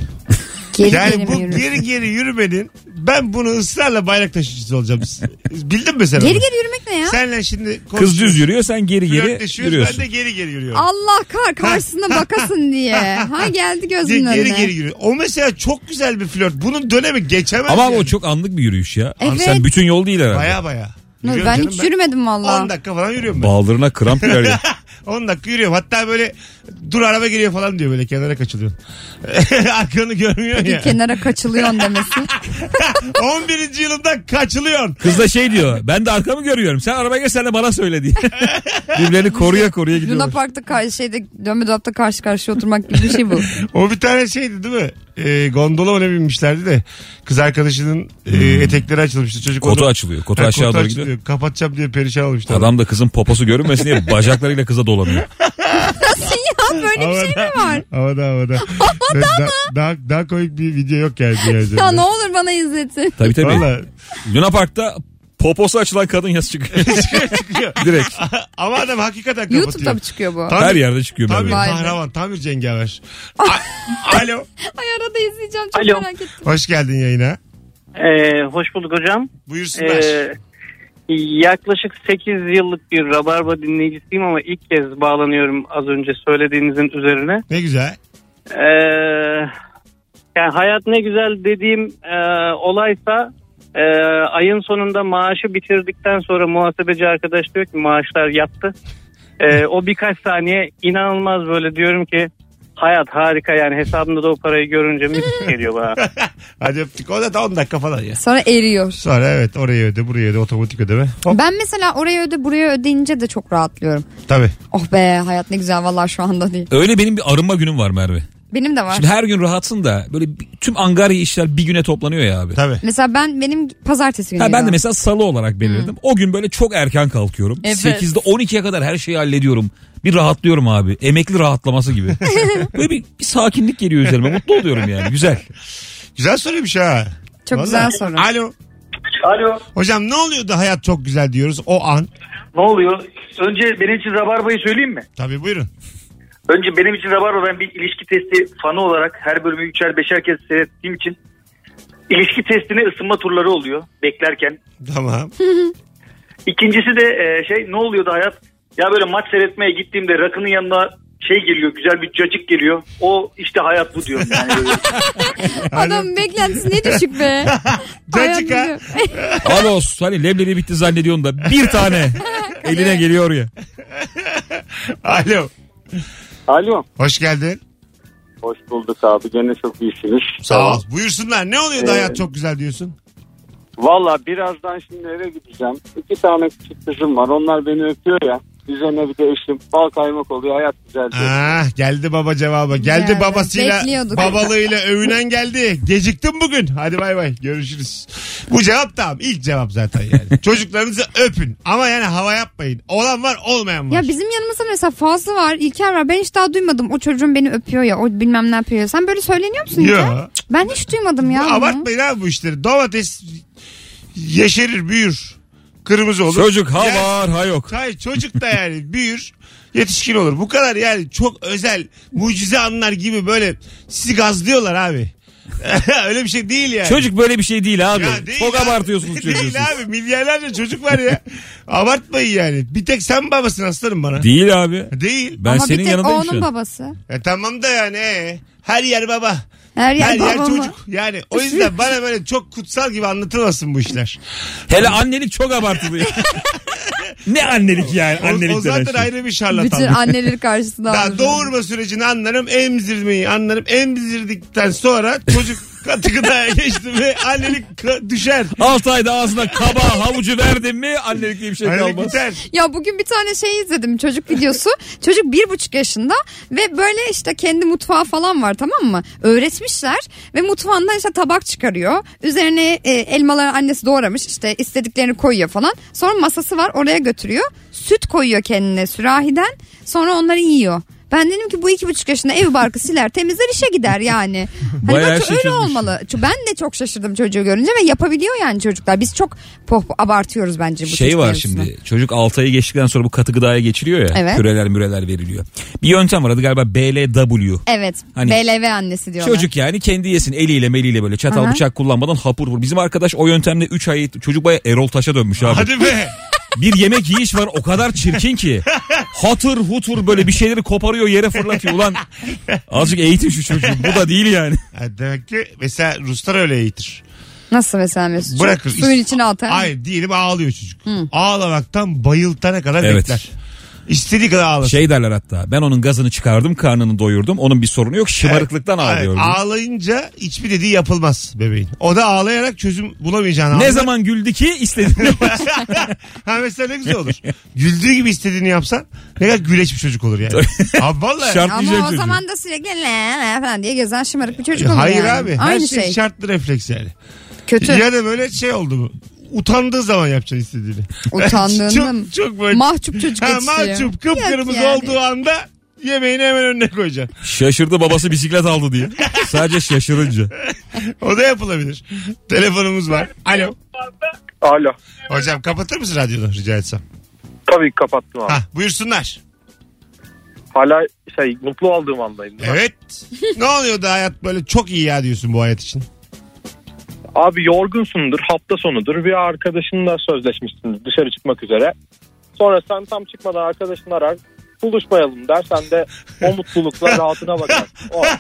Geri geri yani mi bu yürürsün? geri geri yürümenin ben bunu ısrarla bayrak taşıyıcısı olacağım. Bildin mi sen onu? Geri geri yürümek ne ya? Senle şimdi Kız düz konuşuyoruz, yürüyor sen geri geri flörtleşiyoruz, yürüyorsun. Ben de geri geri yürüyorum. Allah kar karşısına bakasın diye. *laughs* Ha geldi Diye gözümün geri önüne. geri yürüyor. O mesela çok güzel bir flört. Bunun dönemi geçemez. Ama yani. o çok anlık bir yürüyüş ya. Abi Evet. sen bütün yol değil herhalde. Baya baya. Ben, Yürüyorum canım hiç yürümedim valla. 10 dakika falan yürüyorum ben. *laughs* Bağlarına kramp girer ya. 10 dakika yürüyorum. Hatta böyle dur araba geliyor falan diyor böyle kenara kaçılıyorsun. *laughs* Arkanı görmüyor Bir ya. kenara *laughs* kaçılıyorsun demesi. 11. yılımda kaçılıyorsun. Kız da şey diyor ben de arkamı görüyorum. Sen arabaya gel sen de bana söyle diye. Birbirlerini koruya koruya Luna gidiyorlar. Park'ta kar- şeyde dönme dolapta karşı karşıya oturmak gibi bir *laughs* şey bu. *laughs* O bir tane şeydi değil mi? Ee, gondola öyle binmişlerdi de kız arkadaşının e, etekleri açılmıştı. Çocuk Hmm. Kotu onu- açılıyor. Kotu Ha, aşağı doğru açılıyor. gidiyor. Kapatacağım diye perişan olmuşlar. Adam da kızın poposu görünmesin diye bacaklarıyla kıza dolanıyor. ya böyle bir şey mi var? Havada *laughs* havada. havada daha, daha, daha komik bir video yok yani. dünya üzerinde. Ya ne olur bana izletin. Tabii tabii. Valla Luna Park'ta poposu açılan kadın yaz çıkıyor. çıkıyor. Direkt. Ama adam hakikaten kapatıyor. YouTube'da mı çıkıyor bu? Tamir, *laughs* Her yerde çıkıyor. Tamir Merve. Vay be. kahraman. Tamir cengaver. Ah. A- Alo. Ay arada izleyeceğim çok Alo. merak ettim. Hoş geldin yayına. Ee, hoş bulduk hocam. Buyursunlar. Ee, Yaklaşık 8 yıllık bir Rabarba dinleyicisiyim ama ilk kez bağlanıyorum az önce söylediğinizin üzerine. Ne güzel. Ee, yani hayat ne güzel dediğim e, olaysa e, ayın sonunda maaşı bitirdikten sonra muhasebeci arkadaş diyor ki maaşlar yattı. E, o birkaç saniye inanılmaz böyle diyorum ki hayat harika yani hesabımda da o parayı görünce müthiş geliyor bana. Hadi öptük. O da 10 dakika falan ya. Sonra eriyor. Sonra evet oraya öde buraya öde otomatik ödeme. Oh. Hop Ben mesela oraya öde buraya ödeyince de çok rahatlıyorum. tabii. Oh be hayat ne güzel vallahi şu anda değil. Öyle benim bir arınma günüm var Merve. Benim de var. Şimdi her gün rahatsın da böyle bir- tüm angarya işler bir güne toplanıyor ya abi. Tabii. Mesela ben benim pazartesi günü. Ha, ben de mesela salı olarak belirledim. O gün böyle çok erken kalkıyorum. Evet. 8'de 12'ye kadar her şeyi hallediyorum. Bir rahatlıyorum abi. Emekli rahatlaması gibi. böyle bir, bir sakinlik geliyor üzerime. Mutlu oluyorum yani. Güzel. Güzel soruymuş ha. Çok Vallahi. güzel soru. Alo. Alo. Hocam ne oluyor da hayat çok güzel diyoruz o an? Ne oluyor? Önce benim için Rabarba'yı söyleyeyim mi? Tabii buyurun. *laughs* Önce benim için Rabarba ben bir ilişki testi fanı olarak her bölümü üçer beşer kez seyrettiğim için ilişki testine ısınma turları oluyor beklerken. Tamam. İkincisi de e, şey ne oluyor da hayat ya böyle maç seyretmeye gittiğimde rakının yanına şey geliyor güzel bir cacık geliyor. O işte hayat bu diyorum yani. Adam beklentisi ne *laughs* düşük be. Cacık ha. Hayat- Alos hani leblebi bitti zannediyorsun da bir tane eline geliyor ya. *laughs* Alo. Alo. Hoş geldin. Hoş bulduk abi gene çok iyisiniz. Sağ ol. Buyursunlar. Ne oluyor da Ee, hayat çok güzel diyorsun? Valla birazdan şimdi eve gideceğim. İki tane küçük kızım var. Onlar beni öpüyor ya. Üzerine bir de eşim bal kaymak oluyor. Hayat güzel. diyor. Ah, geldi baba cevabı. Geldi Geldi. babasıyla, Bekliyorduk. babalığıyla övünen geldi. Geciktin bugün. Hadi bay bay. Görüşürüz. Bu cevap tamam. İlk cevap zaten *laughs* yani. Çocuklarınızı öpün. Ama yani hava yapmayın. Olan var olmayan var. *laughs* Ya şey bizim yanımızda mesela Fazlı var, İlker var. Ben hiç daha duymadım. O çocuğun beni öpüyor ya, o bilmem ne yapıyor ya. Sen böyle söyleniyor musun Yo. İlker? Cık, Ben hiç duymadım ya. bunu. Abartmayın abi bu işleri. Domates yeşerir, büyür. Kırmızı olur. Çocuk ha Yer- var ha yok. Hayır çocuk da yani büyür yetişkin olur. Bu kadar yani çok özel mucize anlar gibi böyle sizi gazlıyorlar abi. *laughs* Öyle bir şey değil yani. Çocuk böyle bir şey değil abi. Ya değil Çok abi. abartıyorsunuz çocuğu. siz. *laughs* Değil abi milyarlarca çocuk *laughs* var ya. Abartmayın yani. Bir tek sen babasın aslanım bana. Değil. Değil abi. Ben Ama senin bir tek o yanındayım şu onun an. babası. E tamam da yani e, her yer baba. Her yer, Her yer baba mı? çocuk. Yani o yüzden bana böyle çok kutsal gibi anlatılmasın bu işler. Hele annelik çok abartılı. *laughs* ne annelik yani O, annelik o denen zaten şey. ayrı bir Bütün şey. şarlatan. anneleri karşısında Daha alır. doğurma sürecini anlarım. Emzirmeyi anlarım. Emzirdikten sonra *laughs* çocuk katı gıdaya geçti ve annelik ka- düşer. 6 ayda ağzına kaba havucu verdin mi annelik diye bir şey Annelik kalmaz. biter. Ya bugün bir tane şey izledim *laughs* çocuk videosu. çocuk bir buçuk yaşında ve böyle işte kendi mutfağı falan var tamam mı? Öğretmişler ve mutfağından işte tabak çıkarıyor. Üzerine e, elmaları annesi doğramış işte istediklerini koyuyor falan. Sonra masası var oraya götürüyor. Süt koyuyor kendine sürahiden sonra onları yiyor. Ben dedim ki bu iki buçuk yaşında ev barkı siler temizler işe *laughs* gider yani. Hani Bayağı bence şey öyle çözmüş. olmalı. Çünkü Ben de çok şaşırdım çocuğu görünce ve yapabiliyor yani çocuklar. Biz çok poh, abartıyoruz bence bu şey çocuk var mevzusunu. şimdi çocuk 6 ayı geçtikten sonra bu katı gıdaya geçiriyor ya Evet. küreler müreler veriliyor. Bir yöntem var adı galiba BLW. Evet. Hani- BLV annesi diyorlar. Çocuk yani kendi yesin eliyle meliyle böyle çatal Aha. bıçak kullanmadan hapur hapur. Bizim arkadaş o yöntemle 3 ay çocuk baya Erol Taş'a dönmüş abi. Hadi be. Bir yemek yiyiş var o kadar çirkin ki. Hatır hutur böyle bir şeyleri koparıyor yere fırlatıyor. Ulan azıcık eğitim şu çocuğu bu da değil yani. Ha, Demek ki mesela Ruslar öyle eğitir. Nasıl mesela Mesut? Bırakır. Suyun içine atar. Hayır diyelim ağlıyor çocuk. Ağlamaktan bayıltana kadar Evet. bekler. İstediği kadar ağlasın. Şey derler hatta ben onun gazını çıkardım karnını doyurdum onun bir sorunu yok şımarıklıktan ağlıyor. Hayır, ağlayınca hiçbir dediği yapılmaz bebeğin. O da ağlayarak çözüm bulamayacağını Ne anlar. zaman güldü ki *laughs* istediğini Ha mesela ne güzel olur. Güldüğü gibi istediğini yapsan ne kadar güleç bir çocuk olur yani. Abi vallahi. Ama şartlayacak o çocuğu. zaman da sürekli "Le, le" falan diye gezen şımarık bir çocuk olur E, Hayır yani. abi. Her Aynı şey, şey. şartlı refleks yani. Kötü. Ya da böyle şey oldu bu. Utandığı zaman yapacaksın istediğini. *laughs* Utandığında mı? çok, çok böyle. Mahcup çocuk ha, yetiştiriyor. mahcup kıpkırmızı Yok yani. olduğu anda yemeğini hemen önüne koyacaksın. Şaşırdı babası bisiklet aldı diye. Sadece şaşırınca. O da yapılabilir. *laughs* Telefonumuz var. Alo. Alo. Hocam kapatır mısın radyonu rica etsem? Tabii kapattım abi. Ha buyursunlar. Hala şey mutlu olduğum andayım. Evet. ne oluyor da hayat böyle çok iyi ya diyorsun bu hayat için. Abi yorgunsundur hafta sonudur bir arkadaşınla sözleşmişsiniz dışarı çıkmak üzere. Sonra sen tam çıkmadan arkadaşın arar buluşmayalım der sen de o *laughs* mutlulukla rahatına bakarsın. O an.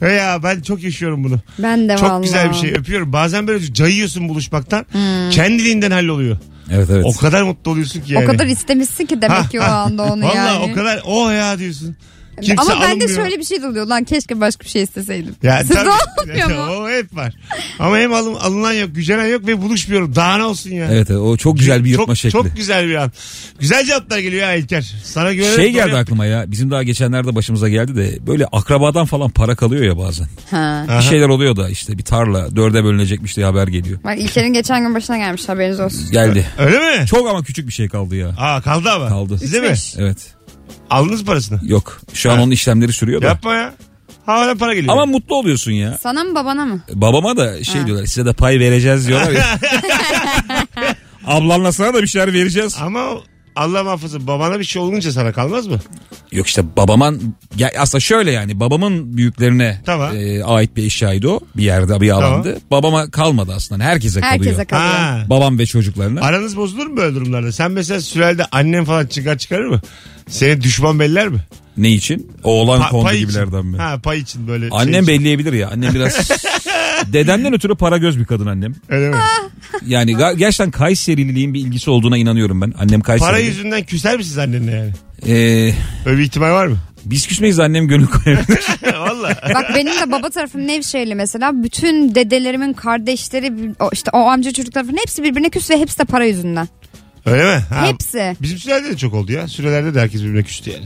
He ya ben çok yaşıyorum bunu. Ben de çok vallahi. güzel bir şey öpüyorum. Bazen böyle cayıyorsun buluşmaktan. Hmm. Kendiliğinden halloluyor. Evet evet. O kadar mutlu oluyorsun ki yani. O kadar istemişsin ki demek ki o anda onu Vallahi yani. o kadar oh ya diyorsun. Kimse Ama bende alınmıyor. şöyle bir şey de oluyor lan keşke başka bir şey isteseydim. *laughs* Ya Sizde tabii. olmuyor mu? o hep var. Ama hem alın, alınan yok, gücenen yok ve buluşmuyorum. Daha ne olsun ya. Evet, evet, o çok güzel bir yırtma çok, şekli. Çok güzel bir an. Güzel cevaplar geliyor ya İlker. Sana göre şey geldi doğru- aklıma ya. Bizim daha geçenlerde başımıza geldi de böyle akrabadan falan para kalıyor ya bazen. Ha. Aha. Bir şeyler oluyor da işte bir tarla dörde bölünecekmiş diye haber geliyor. Bak İlker'in geçen gün başına gelmiş haberiniz olsun. Geldi. Öyle mi? Çok ama küçük bir şey kaldı ya. Aa kaldı ama. Kaldı. Size mi? Evet. Aldınız parasını. Yok. Şu an onun işlemleri sürüyor da. Yapma ya. Havadan para geliyor. Ama mutlu oluyorsun ya. Sana mı babana mı? Babama da şey diyorlar size de pay vereceğiz diyorlar *laughs* ya. Ablanla sana da bir şeyler vereceğiz. Ama o- Allah muhafaza babana bir şey olunca sana kalmaz mı? Yok işte babaman ya aslında şöyle yani babamın büyüklerine Tamam. e, ait bir eşyaydı o. Bir yerde bir alandı. Babama kalmadı aslında. Herkese kalıyor. Herkese kalıyor. Ha. Babam ve çocuklarına. Aranız bozulur mu böyle durumlarda? Sen mesela sürelde annen falan çıkar çıkarır mı? Seni düşman beller mi? Ne için? Oğlan Pa- kondu pay için. gibilerden mi? Ha pay için böyle. şey Annem için. belleyebilir ya. Annem *laughs* biraz... Dedemden ötürü para göz bir kadın annem. Öyle mi? Yani ga- gerçekten Kayserililiğin bir ilgisi olduğuna inanıyorum ben. Annem Kayserili. Para yüzünden küser misiniz annenle yani? Ee, Öyle bir ihtimal var mı? biz küsmeyiz de annem gönül *laughs* koyabilir. Valla. Bak benim de baba tarafım Nevşehirli mesela. Bütün dedelerimin kardeşleri o- işte o amca çocukları falan hepsi birbirine küs ve hepsi de para yüzünden. Öyle mi? Ha, Hepsi. Bizim sürelerde de çok oldu ya. Sürelerde de herkes birbirine küstü yani.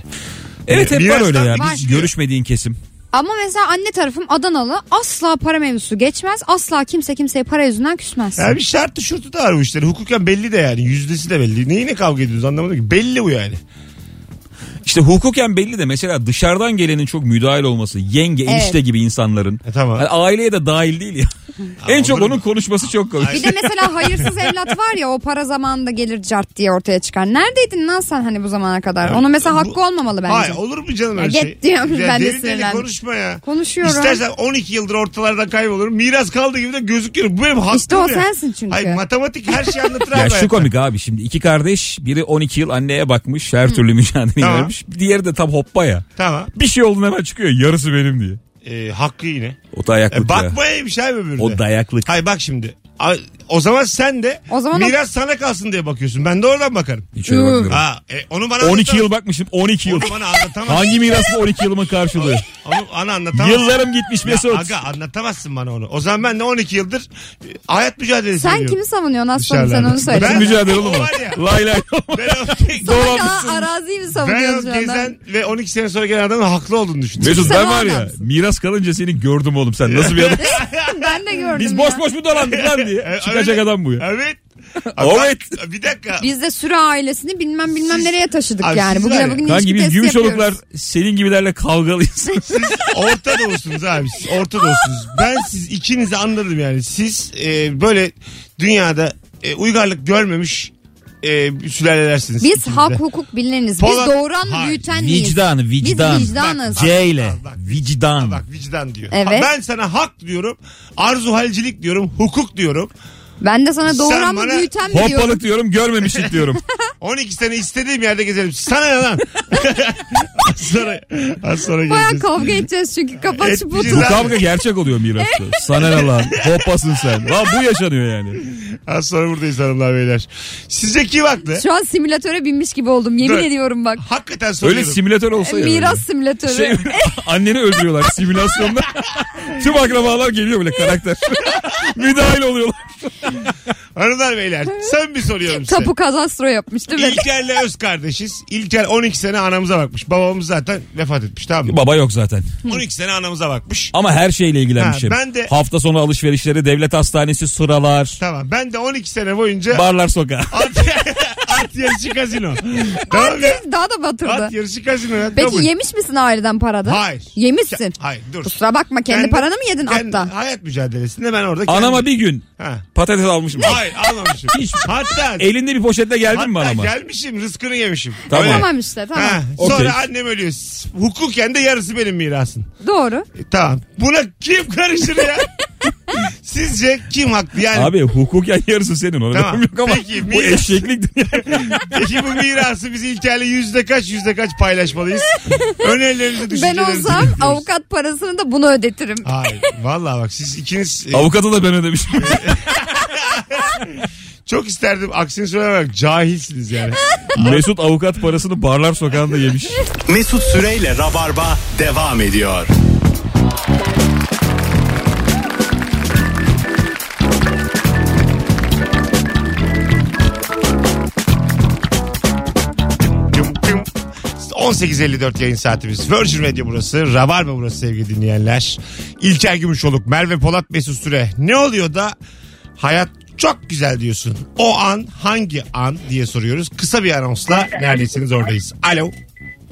evet hep var Mirastan öyle ya. bir- şey. Biz görüşmediğin kesim. Ama mesela anne tarafım Adanalı asla para mevzusu geçmez. Asla kimse kimseye para yüzünden küsmez. Ya bir şartı şurtu da var bu işlerin. Hukuken belli de yani. Yüzdesi de belli. Neyine kavga ediyoruz anlamadım ki. Belli bu yani. İşte hukuken belli de mesela dışarıdan gelenin çok müdahil olması. Yenge, enişte gibi insanların. E, tamam. Yani aileye de dahil değil ya. en çok olur mu? onun konuşması çok komik. Bir de mesela hayırsız evlat var ya o para zamanında gelir cart diye ortaya çıkar. Neredeydin lan sen hani bu zamana kadar? Onun mesela bu- hakkı olmalı bence. Hayır olur mu canım Ya öyle git şey? diyorum, ben de derin derin sinirlendim. konuşma ya. Konuşuyorum. İstersen 12 yıldır ortalardan kaybolurum. Miras kaldığı gibi de gözüküyorum. Bu benim hakkım İşte o ya. sensin çünkü. Ay matematik her şeyi anlatır *laughs* Ya abi. şu komik abi şimdi iki kardeş biri 12 yıl anneye bakmış her türlü mücadeleyi Tamam. vermiş. Diğeri de tam hoppa ya. Tamam. Bir şey olduğunda hemen çıkıyor yarısı benim diye. Ee, hakkı yine. O dayaklık E, ya. bakmayaymış abi öbürüne. O dayaklık. Hayır bak şimdi. A- O zaman sen de O zaman o- miras sana kalsın diye bakıyorsun. Ben de oradan bakarım. Hiç öyle Iı. bakmıyorum. Ha, e, onu bana 12 anlatamaz- yıl bakmışım 12 yıl. Onu bana anlatamazsın. Hangi miras bu 12 yılımın karşılığı? Onu bana anlatamazsın. Yıllarım gitmiş Ya, Mesut. aga anlatamazsın bana onu. O zaman ben de 12 yıldır e, hayat mücadelesi Sen veriyorum. kimi savunuyorsun aslanım sen Dışarılarda. onu söyle. Ben- Bizim mücadele oğlum. Var ya. Lay lay. Ben o- Sana Dolanmışsın. kalan araziyi mi Ben savunuyorsun o şu anda? gezen ve 12 sene sonra gelen adamın haklı olduğunu düşünüyorum. Mesut Sen ben o var ya adamsın. miras kalınca seni gördüm oğlum sen nasıl *laughs* bir adam? ben de gördüm Biz ya. boş boş mu dolandık lan diye. öyle. Çıkacak adam bu ya. Evet. Evet. Bir dakika. Biz de sürü ailesini bilmem bilmem Siz- nereye taşıdık Abi yani. siz var ya. Bugüne bugün ilişki Kanki biz testi gümüşoluklar yapıyoruz. senin gibilerle kavgalıyız. Siz Orta Doğu'sunuz abi. Siz Orta Doğu'sunuz. Ben siz ikinizi anladım yani. Siz e, böyle dünyada e, uygarlık görmemiş e, sülalelersiniz. Biz ikiniz de. hak hukuk bilineniz. Biz Polat- doğuran Hayır. büyüten miyiz? vicdan, vicdan. Biz vicdanız. C ile. Bak, Vicdan. Bak vicdan diyor. Evet. Ha, Ben sana hak diyorum. Arzuhalcilik diyorum. Hukuk diyorum. Ben de sana doğuran Sen mı bana büyüten mi diyorum? Hoppalık diyorum görmemişlik *laughs* diyorum. 12 sene istediğim yerde gezelim. Sana ne *laughs* lan? az sonra, az sonra Baya geleceğiz. kavga edeceğiz çünkü kapat şu Etmeyeceğiz. botu. bu kavga gerçek oluyor mirasta. Sana ne lan? Hoppasın sen. Lan bu yaşanıyor yani. Az sonra buradayız hanımlar beyler. Sizce kim haklı? Şu an simülatöre binmiş gibi oldum yemin Dur. ediyorum bak. Hakikaten soruyorum. Öyle simülatör olsa ya. Miras böyle. simülatörü. Şey, *laughs* anneni öldürüyorlar *laughs* simülasyonda. Tüm akrabalar geliyor böyle karakter. Müdahil oluyorlar. Hanımlar beyler sen bir soruyorum size. Tapu kadastro yapmış değil mi? İlker'le öz kardeşiz. İlker 12 sene anamıza bakmış. Babamız zaten vefat etmiş tamam mı? Baba yok zaten. 12 sene anamıza bakmış. Ama her şeyle ilgilenmiş. Ha, hep. ben de- Hafta sonu alışverişleri, devlet hastanesi, sıralar, Tamam ben de 12 sene boyunca barlar sokağı. at, *laughs* at yarışı kazino. tamam ya. Daha da At batırdı. yarışı kazino. ya, Peki kabul. yemiş misin aileden parada? Hayır. Yemişsin. Hayır dur. Kusura bakma kendi Ben- paranı mı yedin Ben hatta? hayat mücadelesinde ben orada Anama kendim- bir gün Ha. patates almışım. Hayır almamışım. *laughs* Hiç- Hatta Elinde bir poşetle E, geldin mi Hatta anama? gelmişim rızkını yemişim. Tamam. Öyle. Tamam işte tamam. Ha, Okey. Sonra annem ölüyor. Hukuken de yarısı benim mirasım. Doğru. *laughs* E, tamam. Buna kim karışır ya? Sizce kim haklı yani? Abi hukuken yarısı senin. Ona Tamam. tamam. yok ama Peki, bu miras- eşeklik. Peki bu mirası biz İlker'le yüzde kaç yüzde kaç *laughs* paylaşmalıyız? Önerilerinizi Ben düşüncelerinizi olsam bekliyoruz. avukat parasını da bunu ödetirim. Hayır. Vallahi bak siz ikiniz e, Avukatı da ben *laughs* ödemişim. çok isterdim. Aksini söylemek cahilsiniz yani. Mesut avukat parasını barlar sokağında yemiş. Mesut Süreyle Rabarba devam ediyor. Tüm tüm. 18.54 yayın saatimiz. Virgin Radio burası. Rabarba burası sevgili dinleyenler. İlker Gümüşoluk, Merve Polat Mesut Süre. Ne oluyor da hayat çok güzel diyorsun. O an hangi an diye soruyoruz. Kısa bir anonsla neredesiniz oradayız. Alo.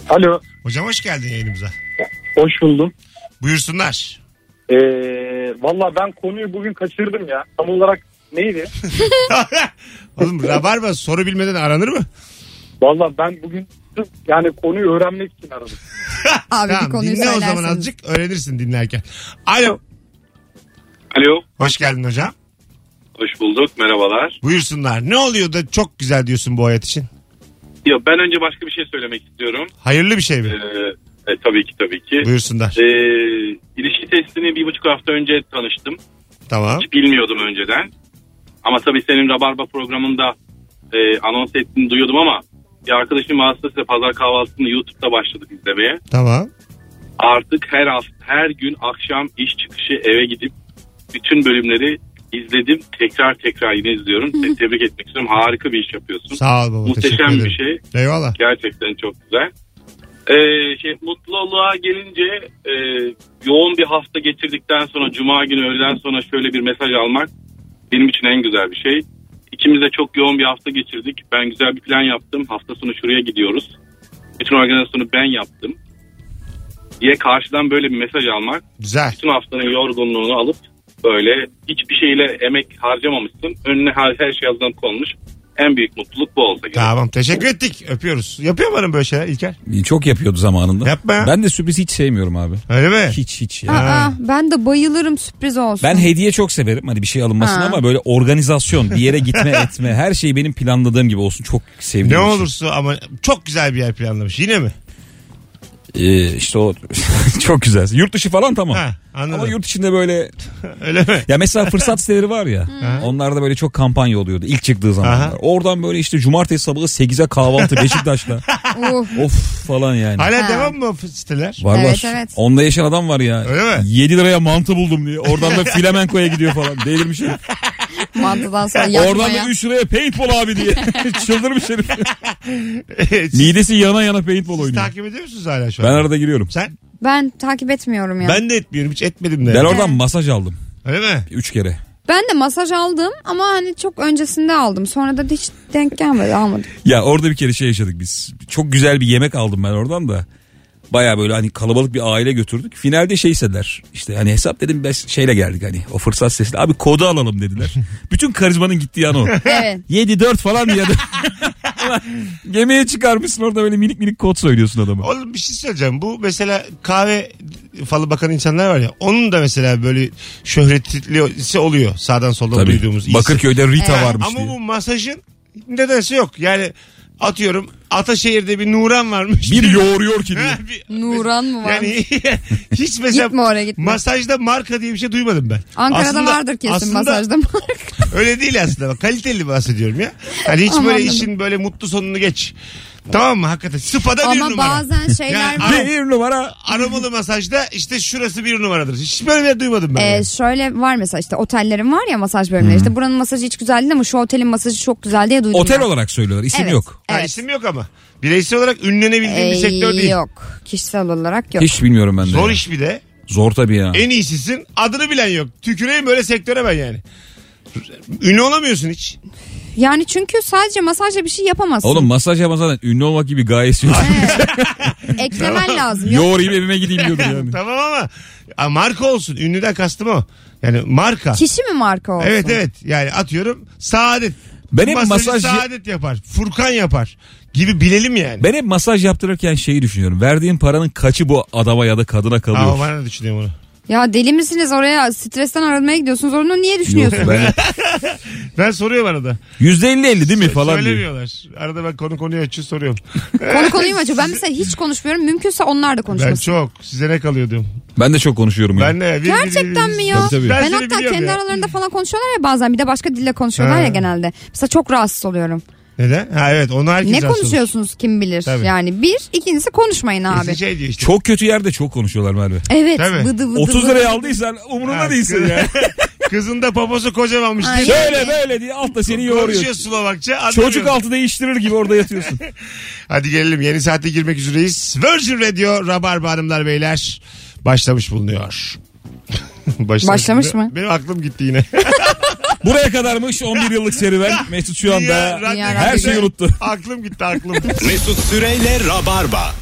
Alo. Hocam hoş geldin yayınımıza. Hoş buldum. Buyursunlar. *laughs* Ee, Valla ben konuyu bugün kaçırdım ya. Tam olarak neydi? Oğlum Rabarba soru bilmeden aranır mı? Valla ben bugün sırf yani konuyu öğrenmek için aradım. Abi bir Tamam konuyu dinle o zaman söylerseniz. azıcık öğrenirsin dinlerken. Alo. Alo. Hoş geldin hocam. Hoş bulduk. Merhabalar. Buyursunlar. Ne oluyor da çok güzel diyorsun bu hayat için? Ya ben önce başka bir şey söylemek istiyorum. Hayırlı bir şey mi? Ee, e, tabii ki tabii ki. Buyursunlar. Ee, ilişki testini bir buçuk hafta önce tanıştım. Tamam. Hiç bilmiyordum önceden. Ama tabii senin Rabarba programında e, anons ettiğini duyuyordum ama bir arkadaşım vasıtasıyla pazar kahvaltısını YouTube'da başladık izlemeye. Tamam. Artık her hafta, her gün akşam iş çıkışı eve gidip bütün bölümleri izledim. Tekrar tekrar yine izliyorum. Seni tebrik etmek istiyorum. Harika bir iş yapıyorsun. Sağ ol baba. teşekkür Muhteşem ederim. bir şey. Eyvallah. Gerçekten çok güzel. Ee, şey, mutluluğa gelince e, yoğun bir hafta geçirdikten sonra cuma günü öğleden sonra şöyle bir mesaj almak benim için en güzel bir şey. İkimiz de çok yoğun bir hafta geçirdik. Ben güzel bir plan yaptım. Hafta sonu şuraya gidiyoruz. Bütün organizasyonu ben yaptım. Diye karşıdan böyle bir mesaj almak. Güzel. Bütün haftanın yorgunluğunu alıp böyle hiçbir şeyle emek harcamamışsın. Önüne her, her şey hazırlanıp konmuş. En büyük mutluluk bu olsa gerek. Tamam teşekkür ettik. Öpüyoruz. Yapıyor mu hanım böyle şeyler İlker? Çok yapıyordu zamanında. Yapma ya. Ben de sürpriz hiç sevmiyorum abi. Öyle mi? Hiç hiç ya. Aa, ben de bayılırım sürpriz olsun. Ben hediye çok severim. Hani bir şey alınmasın Ha. ama böyle organizasyon, bir yere *laughs* gitme etme her şey benim planladığım gibi olsun. Çok sevdiğim. Ne bir şey. olursa ama çok güzel bir yer planlamış. Yine mi? Ee, işte o *laughs* çok güzel. Yurt dışı falan tamam. Ha, anladım. Ama yurt içinde böyle *laughs* Öyle mi? ya mesela fırsat siteleri var ya. onlarda böyle çok kampanya oluyordu ilk çıktığı zamanlar. Aha. Oradan böyle işte cumartesi sabahı 8'e kahvaltı *laughs* Beşiktaş'la. Uh, of falan yani. Hala Ha. devam mı o siteler? Var Evet, var. evet. Onda yaşayan adam var ya. Öyle mi? 7 liraya mantı buldum diye. Oradan *laughs* da flamenkoya gidiyor falan. Delirmiş herif. mantıdan *laughs* sonra Oradan da yakmaya. 3 liraya paintball abi *laughs* diye. Çıldırmış herif. *laughs* Midesi yana yana paintball Siz oynuyor. takip ediyor musunuz hala şu an? Ben arada giriyorum. Sen? Ben takip etmiyorum ya. Ben... Ben de etmiyorum. Hiç etmedim de. Ben oradan masaj aldım. Öyle mi? 3 kere. de masaj aldım ama hani çok öncesinde aldım. Sonra da hiç denk gelmedi almadım. Ya orada bir kere şey yaşadık biz. Çok güzel bir yemek aldım ben oradan da. Baya böyle hani kalabalık bir aile götürdük. Finalde şey istediler. İşte hani hesap dedim biz şeyle geldik hani. O fırsat sesle. Abi kodu alalım *laughs* dediler. Bütün karizmanın gittiği an o. Evet. 7-4 falan *laughs* diye. Gemiye çıkarmışsın orada böyle minik minik kod söylüyorsun adama. Oğlum bir şey söyleyeceğim. Bu mesela kahve falı bakan insanlar var ya. Onun da mesela böyle şöhretlisi oluyor. Sağdan soldan Tabii. duyduğumuz. iyisi. Bakırköy'de Rita Ha, varmış Ama diye. bu masajın nedense yok. Yani atıyorum Ataşehir'de bir Nuran varmış. Bir yoğuruyor ki diye. *laughs* Ha, bir- Nuran mı var? Yani *laughs* hiç mesela Gitme oraya, gitme. masajda marka diye bir şey duymadım ben. Ankara'da Aslında- vardır kesin aslında *laughs* masajda marka. Öyle değil aslında. Bak, Kaliteli bahsediyorum ya. Hani hiç Ama böyle anladım. işin böyle mutlu sonunu geç. Tamam mı? Hakikaten. Spa'da bir Ama numara. bazen şeyler Yani var. Bir numara. Aromalı masajda işte şurası bir numaradır. Hiç böyle bir yer duymadım ben. Ee, yani. şöyle var mesela işte otellerin var ya masaj bölümleri. İşte buranın masajı hiç güzel değil ama şu otelin masajı çok güzel diye duydum. Otel ben. olarak söylüyorlar. İsim Evet. yok. Ha, Evet. isim yok ama. Bireysel olarak ünlenebildiğim bir Ee, sektör değil. Yok. Kişisel olarak yok. Hiç bilmiyorum ben de. Zor ya. iş E- bir de. Zor tabii ya. En iyisisin. Adını bilen yok. Tüküreyim böyle sektöre ben yani. Ünlü olamıyorsun hiç. Yani çünkü sadece masajla bir şey yapamazsın. Oğlum masaj yapma zaten ünlü olmak gibi bir gayesi yok. *laughs* Eklemen lazım. Yok. Yoğurayım evime gideyim diyordum yani. Tamam ama a, marka olsun. Ünlüden kastım o. Yani marka. Kişi mi marka olsun? Evet evet. Yani atıyorum Saadet. Ben hep Masajı masaj- Saadet yapar. Furkan yapar. Gibi bilelim yani. Ben hep masaj yaptırırken şeyi düşünüyorum. Verdiğin paranın kaçı bu adama ya da kadına kalıyor? Ama bana da düşünüyorum onu. Ya deli misiniz oraya stresten aramaya gidiyorsunuz. Onu *laughs* niye düşünüyorsunuz? ben- ben soruyorum arada. %50-50 değil mi Şey falan diyor. Söylemiyorlar. Arada ben konu konuyu açıyor *laughs* soruyorum. Konu konuyu mu açıyor? Ben mesela hiç konuşmuyorum. Mümkünse onlar da Ben konuşmasın. çok. Size ne kalıyor diyorum. Ben de çok konuşuyorum ya. Ben ne? Bir- Gerçekten bir- mi ya? Tabii, tabii. Ben Ben, seni hatta biliyorum kendi ya. aralarında falan konuşuyorlar ya bazen. Bir de başka dille konuşuyorlar Ha. ya genelde. Mesela çok rahatsız oluyorum. Neden? Ha evet onu herkes ne konuşuyorsunuz kim bilir? Tabii. Yani bir, ikincisi konuşmayın abi. Abi. Şey diyor işte. Çok kötü yerde çok konuşuyorlar Merve. Evet. Tabii. Vıdı vıdı 30 vıdı. liraya aldıysan umurunda Ha, değilsin kız- *laughs* ya. Kızın da poposu kocamanmış. Aynen. Diye- Şöyle böyle diye altta seni Konuşuyor yoğuruyor. Slovakça. anlamıyorum. Çocuk altı değiştirir gibi orada yatıyorsun. Hadi gelelim yeni saate girmek üzereyiz. Virgin Radio Rabarba Hanımlar Beyler başlamış bulunuyor. *laughs* Başlamış, Başlamış bulunuyor. mı? Benim aklım gitti yine. Buraya kadarmış 11 yıllık *laughs* serüven. Mesut şu Dünya anda radyo- Dünya her şeyi unuttu. aklım gitti aklım. Mesut Süreyle Rabarba.